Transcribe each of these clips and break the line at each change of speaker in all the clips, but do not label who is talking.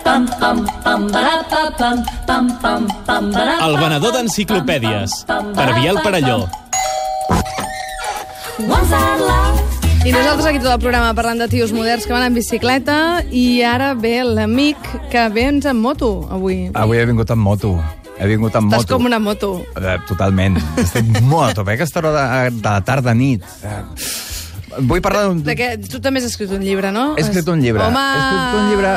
pam, pam, pam, bara, pa, pam, pam, pam, pam, bara,
El
pa,
venedor
pam,
d'enciclopèdies,
pam, pam,
per
bara,
Biel
pa,
Parelló.
pam. Once I love
I nosaltres aquí tot el programa parlant de tios moderns que van en bicicleta i ara ve l'amic que ve ens en moto avui.
Avui he vingut amb moto. He vingut amb
Estàs
moto.
com una moto.
Eh, Totalment. Estic molt a tope. Aquesta hora de, de la tarda, nit. Eh, Vull parlar d'un...
De què? Tu també has escrit un llibre, no?
He escrit un llibre.
Home!
He escrit un llibre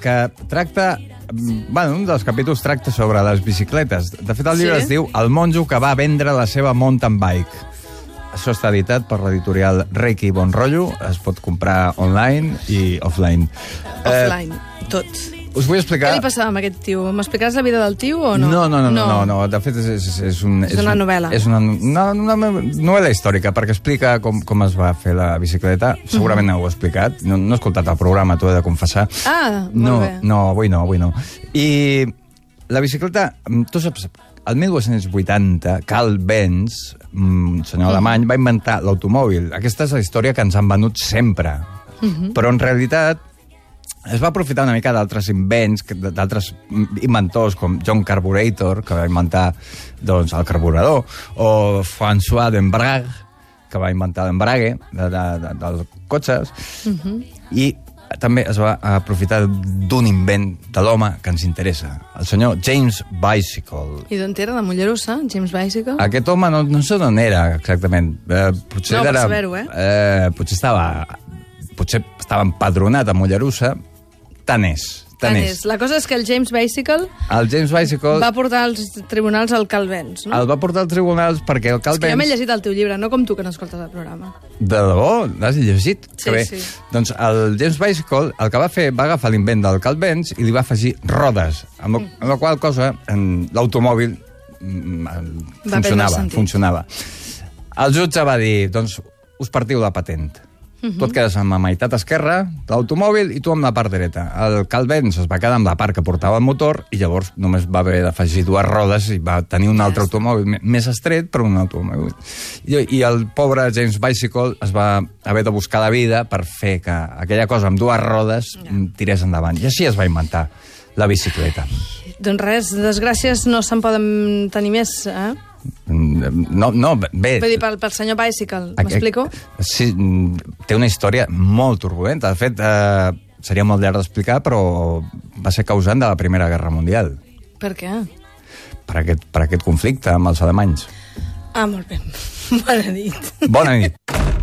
que tracta... mm, Bueno, un dels capítols tracta sobre les bicicletes. De fet, el llibre
Sí?
es diu El monjo que va vendre la seva mountain bike. Això està editat per l'editorial Reiki Bonrollo. Es pot comprar online i offline.
Eh, Offline. Tot.
Eh, us vull
Què
explicar...
li passava amb aquest tio? M'explicaràs la vida del tio o no?
No, no, no, no, no, no. de fet és, és, és, un,
És una
un-
novel·la.
És una, una, una novel·la històrica, perquè explica com, com es va fer la bicicleta.
Mhm.
Segurament no ho he explicat, no, no he escoltat el programa, t'ho he de confessar.
Ah, molt
no,
bé.
No, avui no, avui no. I la bicicleta, mm, tu saps, el 1280, Carl Benz, mm, un senyor
Mhm.
alemany, va inventar l'automòbil. Aquesta és la història que ens han venut sempre.
Mhm.
Però en realitat es va aprofitar una mica d'altres invents, que- d'altres inventors com John Carburetor, que va inventar doncs, el carburador, o François d'Embrague, que va inventar l'embrague de, de, de, dels cotxes, i també es va aprofitar d'un invent de l'home que ens interessa, el senyor James Bicycle.
I d'on era? De Mollerussa? James Bicycle?
Aquest home no, no sé d'on era exactament. Eh, potser
Ah. No, per
era,
saber-ho, eh?
eh? Potser estava, potser estava empadronat a Mollerussa. Tant és, tant,
Tant
és.
és. La cosa és que el James Bicycle
El James Bicycle
va portar als tribunals el Calvens, no?
el va portar als tribunals perquè el
És que jo m'he
Calvens...
llegit el teu llibre, no com tu que no escoltes el programa.
De debò, l'has llegit?
Sí,
Que bé.
sí.
Doncs el James Bicycle el que va fer va agafar l'invent del Calvens i li va afegir rodes, amb, la- amb la qual cosa en l'automòbil mm, el-
Va prendre
funcionava,
sentit.
funcionava. El jutge va dir, doncs us partiu la patent.
Mhm.
Tu et quedes amb la meitat esquerra de l'automòbil i tu amb la part dreta. El Calvens es va quedar amb la part que portava el motor i llavors només va haver d'afegir dues rodes i va tenir un altre automòbil me- més estret, però un automòbil. I, I el pobre James Bicycle es va haver de buscar la vida per fer que aquella cosa amb dues rodes mm, tirés endavant. I així es va inventar la bicicleta.
Doncs res, desgràcies no se'n poden tenir més, eh?
Mm, No, no, bé...
Vull dir, pel, pel senyor Bicycle,
Aqu-
m'explico?
Sí, mm, té una història molt turbulenta. De fet, eh, seria molt llarg d'explicar, però va ser causant de la Primera Guerra Mundial
Per què?
per aquest, per aquest conflicte amb els alemanys.
Ah, molt bé. Bona nit.
Bona nit.